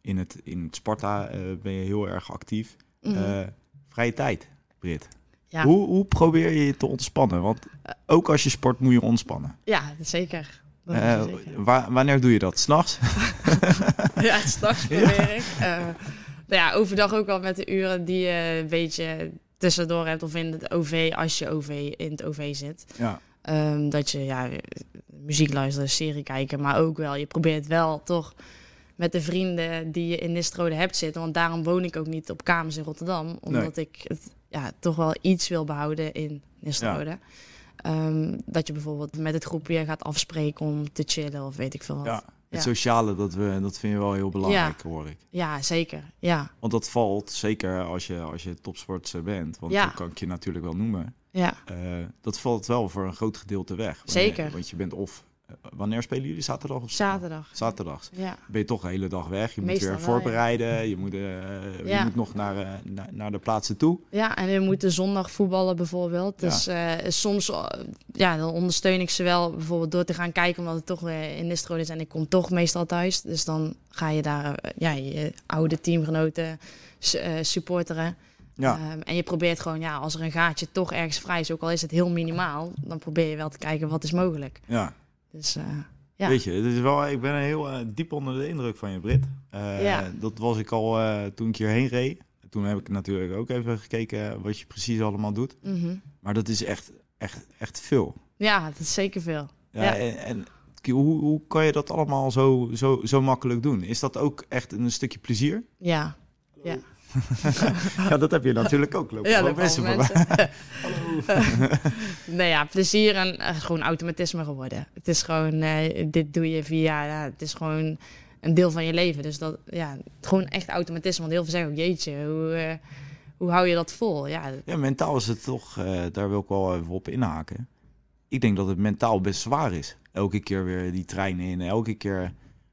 S1: in, het, in het Sparta eh, ben je heel erg actief.
S2: Mhm.
S1: Eh, vrije tijd, Brit.
S2: Ja. Eh,
S1: Hoe, hoe probeer je je te ontspannen? Want ook als je sport moet je ontspannen.
S2: ja, dat zeker. Dat is
S1: Eh,
S2: zeker.
S1: wa- wanneer doe je dat? S'nachts?
S2: ja, s'nachts probeer ik. Eh, nou ja, overdag ook wel met de uren die je een beetje tussendoor hebt. Of in het OV, als je OV in het OV zit.
S1: ja.
S2: Ehm, dat je ja, muziek luisteren, serie kijken, maar ook wel, je probeert wel toch met de vrienden die je in Nistrode hebt zitten. Want daarom woon ik ook niet op kamers in Rotterdam, omdat ik het, ja, toch wel iets wil behouden in Nistrode. Ehm, dat je bijvoorbeeld met het groepje gaat afspreken om te chillen of weet ik veel wat.
S1: Ja.
S2: Ja,
S1: Het sociale, dat, we, dat vind je wel heel belangrijk, hoor ik.
S2: zeker. Ja,
S1: Want dat valt, zeker als je, als je topsportster bent, want
S2: Ja.
S1: dat kan ik je natuurlijk wel noemen.
S2: ja.
S1: eh, dat valt wel voor een groot gedeelte weg. Wanneer-
S2: Zeker.
S1: Want je bent of... eh, wanneer spelen jullie? Zaterdag of
S2: Zaterdag.
S1: Zaterdags.
S2: Ja,
S1: ben je toch de hele dag weg. Je moet
S2: Meestal
S1: weer
S2: wel,
S1: voorbereiden. je, moet, eh,
S2: Ja.
S1: je moet nog naar, eh, na- naar de plaatsen toe.
S2: ja en we moeten zondag voetballen bijvoorbeeld.
S1: Ja.
S2: Dus eh, soms eh, ja, dan ondersteun ik ze wel bijvoorbeeld door te gaan kijken, omdat het toch weer in Nistro is en ik kom toch meestal thuis. Dus dan ga je daar eh, ja, je oude teamgenoten su- eh, supporteren.
S1: Ja.
S2: Ehm, en je probeert gewoon, ja, als er een gaatje toch ergens vrij is, ook al is het heel minimaal, dan probeer je wel te kijken wat is mogelijk.
S1: Ja.
S2: Dus eh, Ja.
S1: Weet je, het is wel, ik ben heel eh, diep onder de indruk van je, Brit. Eh,
S2: Ja.
S1: Dat was ik al eh, toen ik hierheen reed. Toen heb ik natuurlijk ook even gekeken wat je precies allemaal doet.
S2: mhm.
S1: Maar dat is echt, echt, echt veel.
S2: ja, dat is zeker veel.
S1: Ja,
S2: Ja.
S1: En, en hoe, hoe kan je dat allemaal zo, zo, zo makkelijk doen? Is dat ook echt een stukje plezier?
S2: Ja,
S1: Ja, dat heb je natuurlijk ook. Lopen
S2: ja
S1: gewoon
S2: dat
S1: mensen voorbij.
S2: nou ja, plezier en eh, gewoon automatisme geworden. Het is gewoon, eh, dit doe je via, ja, het is gewoon een deel van je leven. Dus dat, ja, gewoon echt automatisme. Want heel veel zeggen ook, jeetje, hoe, eh, hoe hou je dat vol? Ja,
S1: Ja, mentaal is het toch, eh, daar wil ik wel even op inhaken. Ik denk dat het mentaal best zwaar is. Elke keer weer die trein in, elke keer.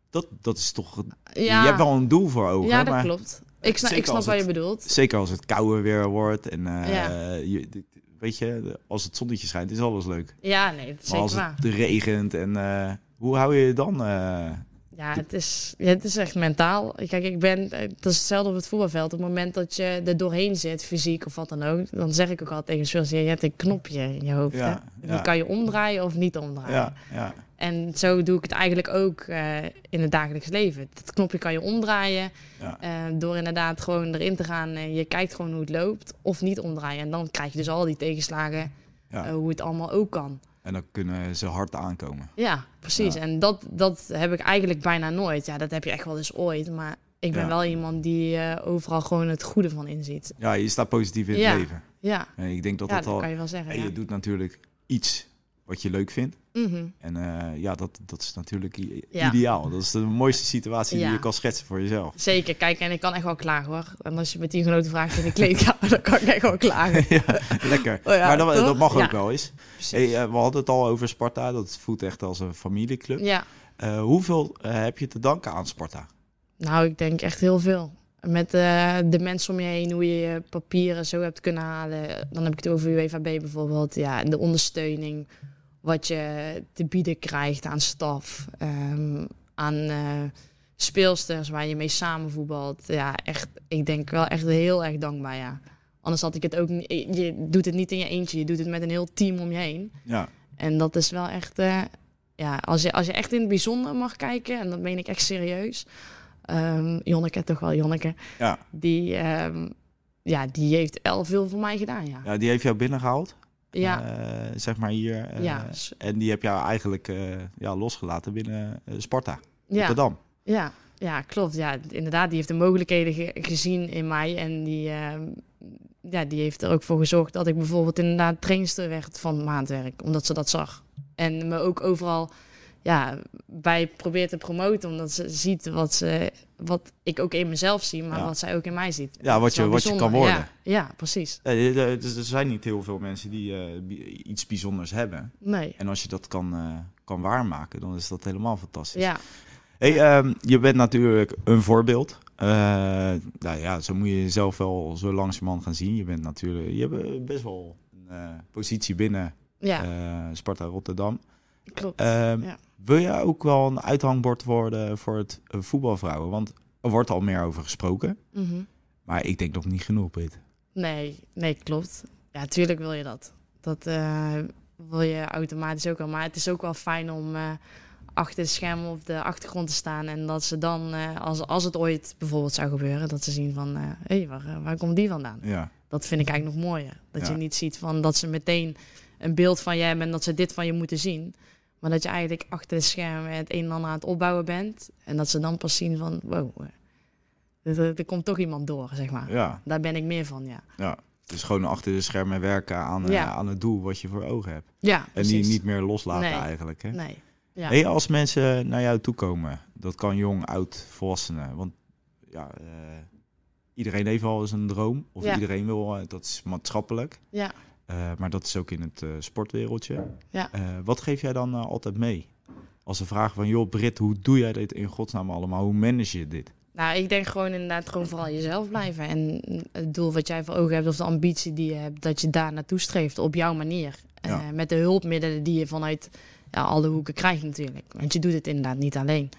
S1: Dat, dat is toch.
S2: ja,
S1: Je hebt wel een doel voor ogen.
S2: ja dat
S1: maar
S2: klopt. Ik, sna-
S1: zeker
S2: ik snap
S1: als
S2: wat
S1: het-
S2: je bedoelt.
S1: Zeker als het kouder weer wordt. En eh,
S2: Ja.
S1: je, dit- weet je, als het zonnetje schijnt, is alles leuk.
S2: Ja, nee, dat is
S1: Maar
S2: zeker
S1: als
S2: waar.
S1: het regent en. eh, hoe hou je je dan? eh,
S2: Ja, het is, ja, het is echt mentaal. Kijk, ik ben, eh, dat is hetzelfde op het voetbalveld. Op het moment dat je er doorheen zit, fysiek of wat dan ook, dan zeg ik ook altijd tegen spelers, ja, je hebt een knopje in je hoofd.
S1: Ja,
S2: hè?
S1: ja.
S2: Die kan je omdraaien of niet omdraaien.
S1: ja, ja,
S2: En zo doe ik het eigenlijk ook eh, in het dagelijks leven. Dat knopje kan je omdraaien
S1: ja.
S2: eh, door inderdaad gewoon erin te gaan en je kijkt gewoon hoe het loopt of niet omdraaien. En dan krijg je dus al die tegenslagen
S1: Ja.
S2: eh, hoe het allemaal ook kan.
S1: En dan kunnen ze hard aankomen.
S2: Ja, precies.
S1: Ja.
S2: En dat, dat heb ik eigenlijk bijna nooit. Ja, dat heb je echt wel eens ooit. Maar ik ben
S1: Ja.
S2: wel iemand die eh, overal gewoon het goede van inziet.
S1: Ja, je staat positief in het
S2: Ja.
S1: leven.
S2: Ja,
S1: En ik denk dat
S2: ja
S1: dat
S2: dat
S1: al.
S2: kan je wel zeggen.
S1: En
S2: ja.
S1: je doet natuurlijk iets wat je leuk vindt.
S2: Mhm.
S1: En eh, ja, dat, dat is natuurlijk i-
S2: Ja.
S1: ideaal. Dat is de mooiste situatie die
S2: Ja.
S1: je kan schetsen voor jezelf.
S2: Zeker, kijk, en ik kan echt wel klagen hoor. En als je met tien genoten vraagt in de kleedkamer, dan kan ik echt wel klagen.
S1: ja, lekker.
S2: Oh ja,
S1: maar dat,
S2: toch?
S1: dat mag ook
S2: Ja.
S1: wel eens. Hey,
S2: Precies.
S1: eh, we hadden het al over Sparta. Dat voelt echt als een familieclub.
S2: Ja,
S1: Eh, hoeveel eh, heb je te danken aan Sparta?
S2: nou, ik denk echt heel veel. Met eh, de mensen om je heen, hoe je je papieren zo hebt kunnen halen. Dan heb ik het over UEFA B bijvoorbeeld. Ja, en de ondersteuning. Wat je te bieden krijgt aan staf. ehm, aan eh, speelsters waar je mee samenvoetbalt. Ja, echt. Ik denk wel echt heel erg dankbaar, ja. Anders had ik het ook niet... Je doet het niet in je eentje. Je doet het met een heel team om je heen.
S1: Ja,
S2: En dat is wel echt, eh, ja, als je, als je echt in het bijzonder mag kijken, en dat meen ik echt serieus. ehm, Jonneke, toch wel Jonneke.
S1: Ja.
S2: Die, ehm, ja, die heeft el veel voor mij gedaan, ja.
S1: ja die heeft jou binnengehaald.
S2: Ja,
S1: Eh, zeg maar hier. eh,
S2: ja, s-
S1: En die heb jou eigenlijk eh, ja, losgelaten binnen eh, Sparta.
S2: ja,
S1: Rotterdam.
S2: ja, ja, klopt. Ja, inderdaad, die heeft de mogelijkheden ge- gezien in mij. En die, ehm, ja, die heeft er ook voor gezorgd dat ik bijvoorbeeld inderdaad trainster werd van maandwerk. Omdat ze dat zag. En me ook overal ja, bij probeert te promoten. Omdat ze ziet wat, ze, wat ik ook in mezelf zie, maar
S1: Ja.
S2: wat zij ook in mij ziet.
S1: Ja,
S2: Dat
S1: wat
S2: is wel
S1: je- wat je kan
S2: bijzonder.
S1: worden.
S2: Ja, ja, precies.
S1: Eh, eh, eh, dus er zijn niet heel veel mensen die eh, bi- iets bijzonders hebben.
S2: Nee.
S1: En als je dat kan, eh, kan waarmaken, dan is dat helemaal fantastisch.
S2: Ja,
S1: Hey, ehm, je bent natuurlijk een voorbeeld. Eh, nou ja, zo moet je jezelf wel zo langzamerhand gaan zien. Je bent natuurlijk, je hebt eh, best wel een eh, positie binnen
S2: ja
S1: eh, Sparta Rotterdam.
S2: klopt.
S1: Ehm,
S2: ja.
S1: Wil jij ook wel een uithangbord worden voor het eh, voetbalvrouwen? Want er wordt al meer over gesproken,
S2: Mhm.
S1: maar ik denk nog niet genoeg, Brit.
S2: Nee, nee, klopt. Ja, tuurlijk wil je dat. Dat eh, wil je automatisch ook wel. Maar het is ook wel fijn om eh, achter de schermen op de achtergrond te staan. En dat ze dan, eh, als, als het ooit bijvoorbeeld zou gebeuren, dat ze zien van... Hé, hey, waar, eh, waar komt die vandaan?
S1: Ja,
S2: Dat vind ik eigenlijk nog mooier. Dat
S1: Ja.
S2: je niet ziet van dat ze meteen een beeld van je hebben en dat ze dit van je moeten zien. Maar dat je eigenlijk achter de schermen het een en ander aan het opbouwen bent. En dat ze dan pas zien van, wow, eh, er, er komt toch iemand door, zeg maar.
S1: ja,
S2: Daar ben ik meer van, ja.
S1: ja. Dus gewoon achter de schermen werken aan, eh,
S2: Ja.
S1: aan het doel wat je voor ogen hebt.
S2: Ja,
S1: En die
S2: precies.
S1: niet meer loslaten
S2: Nee.
S1: eigenlijk. Hè?
S2: Nee. Ja.
S1: Hey, als mensen naar jou toe komen, dat kan jong, oud, volwassenen. Want ja, eh, iedereen heeft wel eens een droom. Of
S2: Ja.
S1: iedereen wil, eh, dat is maatschappelijk.
S2: Ja.
S1: Eh, maar dat is ook in het eh, sportwereldje.
S2: Ja.
S1: Eh, wat geef jij dan eh, altijd mee? Als ze vragen van, joh Brit, hoe doe jij dit in godsnaam allemaal? Hoe manage je dit?
S2: Nou, ik denk gewoon inderdaad gewoon vooral jezelf blijven. En het doel wat jij voor ogen hebt of de ambitie die je hebt, dat je daar naartoe streeft op jouw manier.
S1: Ja.
S2: Eh, met de hulpmiddelen die je vanuit ja, alle hoeken krijgt natuurlijk. Want je doet het inderdaad niet alleen.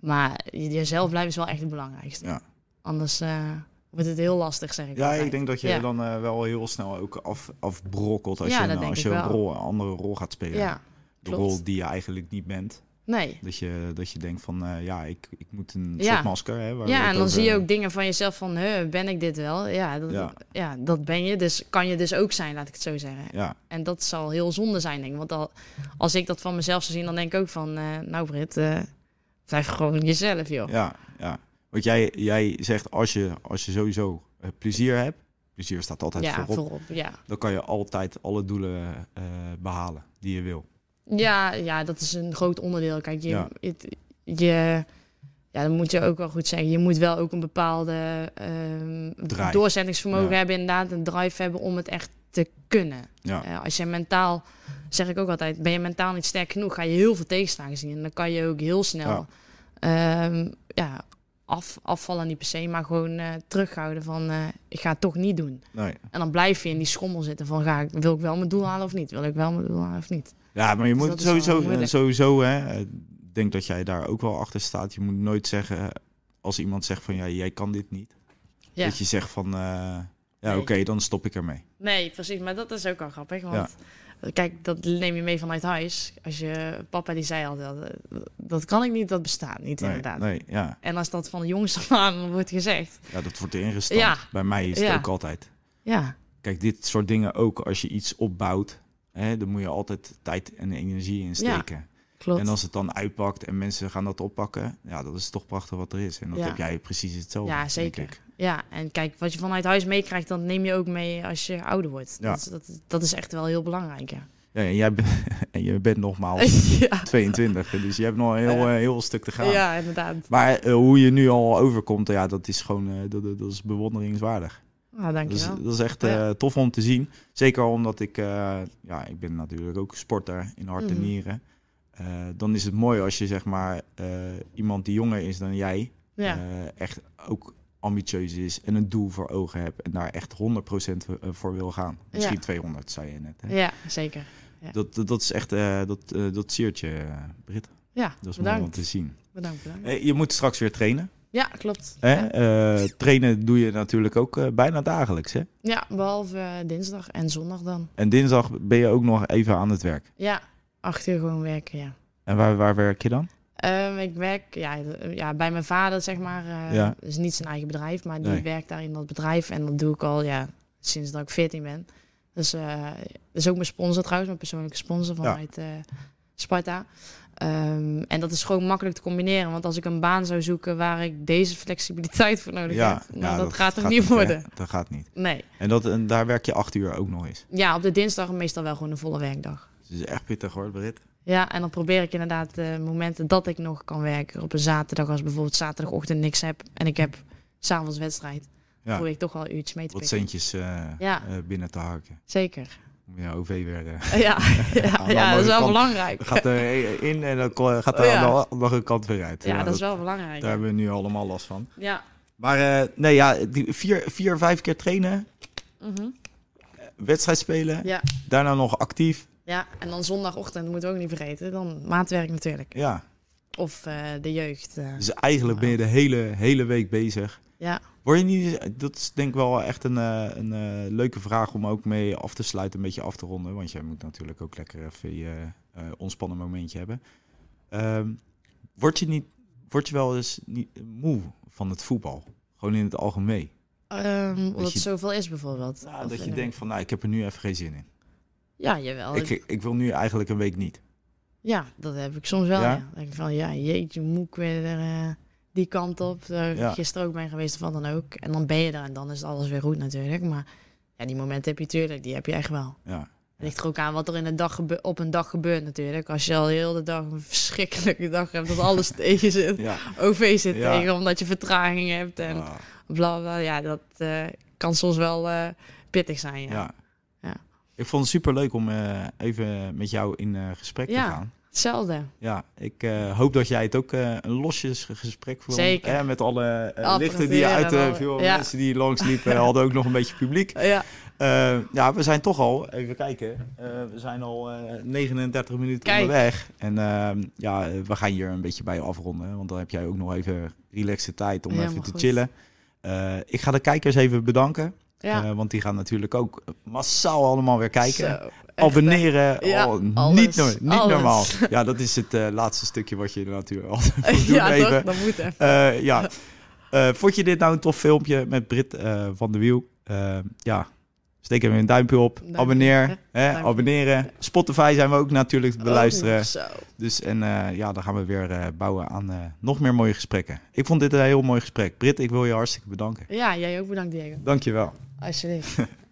S2: Maar je- jezelf blijven is wel echt het belangrijkste.
S1: Ja.
S2: Anders eh, wordt het heel lastig, zeg ik.
S1: Ja,
S2: altijd.
S1: ik denk dat je
S2: Ja.
S1: dan eh, wel heel snel ook af, afbrokkelt als
S2: Ja,
S1: je,
S2: dat
S1: een,
S2: denk
S1: als
S2: ik
S1: je een,
S2: wel.
S1: rol, een andere rol gaat spelen.
S2: Ja,
S1: de
S2: klopt.
S1: rol die je eigenlijk niet bent.
S2: nee.
S1: Dat je, dat je denkt van, eh, ja, ik, ik moet een
S2: Ja.
S1: soort masker. Hè, waar eh, we
S2: Ja,
S1: het
S2: en dan
S1: over-
S2: zie je ook dingen van jezelf van, huh, ben ik dit wel? Ja dat,
S1: Ja.
S2: ja. dat ben je. Dus kan je dus ook zijn, laat ik het zo zeggen.
S1: Ja,
S2: En dat zal heel zonde zijn, denk ik. Want al, als ik dat van mezelf zou zien, dan denk ik ook van... eh, nou Britt, eh, blijf gewoon jezelf, joh.
S1: ja, ja. Want jij, jij zegt, als je, als je sowieso eh, plezier hebt, plezier staat altijd
S2: Ja,
S1: voorop,
S2: voorop, ja.
S1: dan kan je altijd alle doelen eh, behalen die je wil.
S2: ja. Ja, dat is een groot onderdeel. Kijk, je,
S1: Ja.
S2: het- je, ja, dat moet je ook wel goed zeggen. Je moet wel ook een bepaalde ehm,
S1: Drive.
S2: doorzettingsvermogen
S1: Ja.
S2: hebben, inderdaad. Een drive hebben om het echt te kunnen.
S1: Ja,
S2: Eh, als je mentaal, zeg ik ook altijd, ben je mentaal niet sterk genoeg, ga je heel veel tegenslagen zien. En dan kan je ook heel snel ehm, ja, af, afvallen, niet per se, maar gewoon eh, terughouden van eh, ik ga het toch niet doen.
S1: nee.
S2: En dan blijf je in die schommel zitten van ga ik, wil ik wel mijn doel halen of niet? Wil ik wel mijn doel halen of niet?
S1: ja maar je
S2: Dus
S1: moet
S2: dat is wel
S1: sowieso,
S2: moeilijk.
S1: sowieso hè, eh, ik denk dat jij daar ook wel achter staat. Je moet nooit zeggen, eh, als iemand zegt van, ja, jij kan dit niet.
S2: Ja.
S1: Dat je zegt van, eh, ja,
S2: Nee.
S1: oké, dan stop ik ermee.
S2: Nee, precies. Maar dat is ook wel grappig. Want kijk, dat neem je mee vanuit huis. Als je papa die zei altijd, eh, dat kan ik niet, dat bestaat niet
S1: Nee,
S2: inderdaad.
S1: nee, ja.
S2: En als dat van de jongs af aan wordt gezegd,
S1: ja, dat wordt ingestampt.
S2: Ja.
S1: Bij mij is het
S2: Ja.
S1: ook altijd.
S2: ja,
S1: Kijk, dit soort dingen ook, als je iets opbouwt, hè, dan moet je altijd tijd en energie in steken.
S2: klopt.
S1: en als het dan uitpakt en mensen gaan dat oppakken, ja, dat is toch prachtig wat er is. En dat
S2: Ja.
S1: heb jij precies hetzelfde.
S2: Ja,
S1: Oh, denk
S2: zeker.
S1: ik.
S2: Ja, en kijk, wat je vanuit huis meekrijgt, dat neem je ook mee als je ouder wordt.
S1: Ja.
S2: Dat, is, dat, dat is echt wel heel belangrijk. Ja.
S1: Ja, Ja, en, jij ben- en je bent nogmaals
S2: ja.
S1: 22, dus je hebt nog een heel, eh, heel stuk te gaan.
S2: ja, inderdaad.
S1: Maar eh, hoe je nu al overkomt, ja, dat is gewoon eh, dat, dat, dat is bewonderingswaardig.
S2: Nou,
S1: Dat is,
S2: dankjewel.
S1: dat is echt
S2: Ja.
S1: eh, tof om te zien. Zeker omdat ik, eh, ja, ik ben natuurlijk ook sporter in hart en
S2: Mhm.
S1: nieren. Eh, dan is het mooi als je zeg maar eh, iemand die jonger is dan jij,
S2: ja.
S1: eh, echt ook ambitieus is en een doel voor ogen hebt en daar echt 100% voor- eh, voor wil gaan. Misschien 200, zei je net. Hè?
S2: ja, zeker. Ja.
S1: Dat, dat, dat is echt, eh, dat, eh, dat siert je, eh, Britt.
S2: Ja,
S1: Dat is mooi om
S2: bedankt.
S1: te zien.
S2: bedankt. Bedankt.
S1: Eh, je moet straks weer trainen.
S2: Ja, klopt.
S1: Hè?
S2: Ja.
S1: Eh, trainen doe je natuurlijk ook eh, bijna dagelijks. Hè?
S2: Ja, behalve eh, dinsdag en zondag dan.
S1: En dinsdag ben je ook nog even aan het werk.
S2: Ja, acht uur gewoon werken, ja.
S1: En waar, waar werk je dan?
S2: Ehm, ik werk ja, d- ja, bij mijn vader, zeg maar. eh
S1: Ja.
S2: is niet zijn eigen bedrijf, maar die
S1: Nee.
S2: werkt daar in dat bedrijf. En dat doe ik al ja, sinds dat ik 14 ben. Dus eh, dat is ook mijn sponsor trouwens, mijn persoonlijke sponsor vanuit eh, Sparta. Ehm, en dat is gewoon makkelijk te combineren. Want als ik een baan zou zoeken waar ik deze flexibiliteit voor nodig heb, nou,
S1: ja,
S2: dat, gaat er niet
S1: hè?
S2: worden.
S1: Dat gaat niet.
S2: Nee.
S1: En, dat, en daar werk je acht uur ook nog eens.
S2: Ja, op de dinsdag meestal wel gewoon een volle werkdag.
S1: Het is echt pittig hoor, Britt.
S2: Ja, en dan probeer ik inderdaad eh, momenten dat ik nog kan werken. Op een zaterdag, als bijvoorbeeld zaterdagochtend niks heb en ik heb s'avonds wedstrijd,
S1: Ja.
S2: probeer ik toch wel iets mee te
S1: Wat
S2: pikken.
S1: centjes eh,
S2: Ja.
S1: eh, binnen te harken.
S2: Zeker.
S1: Om je OV weer... eh,
S2: Ja, ja, ja,
S1: de
S2: dat
S1: andere
S2: is wel
S1: kant
S2: belangrijk.
S1: gaat er in en dan ko- gaat er
S2: Oh, ja.
S1: aan de andere kant weer uit.
S2: ja, dat is wel
S1: Daar
S2: belangrijk.
S1: hebben we nu allemaal last van.
S2: Ja.
S1: Maar eh, nee, ja, die vier, vier, vijf keer trainen,
S2: Mhm.
S1: wedstrijd spelen,
S2: ja.
S1: daarna nog actief.
S2: Ja, en dan zondagochtend moeten we ook niet vergeten. Dan maatwerk natuurlijk.
S1: Ja,
S2: Of eh, de jeugd. eh.
S1: dus eigenlijk ben je de hele, hele week bezig.
S2: Ja.
S1: Word je niet, dat is denk ik wel echt een, eh, een eh, leuke vraag om ook mee af te sluiten, een beetje af te ronden. Want jij moet natuurlijk ook lekker even je eh, ontspannen momentje hebben. Ehm, word, je niet, word je wel eens niet moe van het voetbal? Gewoon in het algemeen.
S2: Ehm, omdat
S1: je-
S2: het zoveel is bijvoorbeeld.
S1: Nou,
S2: Of
S1: dat je
S2: in-
S1: denkt van, nou, ik heb er nu even geen zin in.
S2: Ja, jawel.
S1: Ik, ik wil nu eigenlijk een week niet.
S2: Ja, dat heb ik soms wel.
S1: Ja?
S2: Ja? Dan denk ik van, ja, jeetje, moet ik weer eh, die kant op. Daar ik
S1: Ja.
S2: gisteren ook ben geweest of wat dan ook. En dan ben je daar en dan is alles weer goed natuurlijk. Maar ja, die momenten heb je natuurlijk, die heb je echt wel.
S1: Ja.
S2: Het ligt er ook aan wat er in de dag gebe- op een dag gebeurt natuurlijk. Als je al heel de dag een verschrikkelijke dag hebt, dat alles tegen zit.
S1: ja.
S2: OV zit
S1: Ja.
S2: tegen omdat je vertraging hebt en
S1: Ah,
S2: bla bla. Ja, dat eh, kan soms wel eh, pittig zijn, ja.
S1: ja.
S2: Ja.
S1: Ik vond het super leuk om eh, even met jou in eh, gesprek
S2: Ja.
S1: te gaan.
S2: Hetzelfde.
S1: Ja, ik eh, hoop dat jij het ook eh, een losjes gesprek vond.
S2: Zeker.
S1: Hè, met alle eh,
S2: Apparatuur
S1: lichten die uit
S2: en
S1: eh
S2: alle-
S1: viel.
S2: ja.
S1: Mensen die langsliepen eh, hadden ook nog een beetje publiek.
S2: Ja,
S1: Eh, ja, we zijn toch al, even kijken, eh, we zijn al eh, 39 minuten
S2: Kijk.
S1: onderweg. En ehm, ja, eh, we gaan hier een beetje bij afronden, want dan heb jij ook nog even relaxte tijd om
S2: Helemaal
S1: even te
S2: goed.
S1: chillen. Eh, ik ga de kijkers even bedanken,
S2: ja.
S1: eh, want die gaan natuurlijk ook massaal allemaal weer kijken.
S2: Zo, echt, hè.
S1: Abonneren,
S2: Ja,
S1: oh,
S2: alles,
S1: niet, no- niet
S2: alles.
S1: normaal. Ja, dat is het eh, laatste stukje wat je natuurlijk altijd moet doen
S2: ja,
S1: even.
S2: toch? Dat moet even.
S1: Eh, ja. Eh, vond je dit nou een tof filmpje met Brit eh, van de Wiel? Eh, ja, steek hem een duimpje op.
S2: Duimpje,
S1: Abonneer.
S2: hè?
S1: Hè?
S2: Duimpje.
S1: Abonneren. Spotify zijn we ook natuurlijk te beluisteren.
S2: Oh, zo.
S1: Dus en eh, ja, dan gaan we weer eh, bouwen aan eh, nog meer mooie gesprekken. Ik vond dit een heel mooi gesprek. Brit, ik wil je hartstikke bedanken.
S2: Ja, jij ook bedankt, Diego.
S1: Dankjewel.
S2: Alsjeblieft.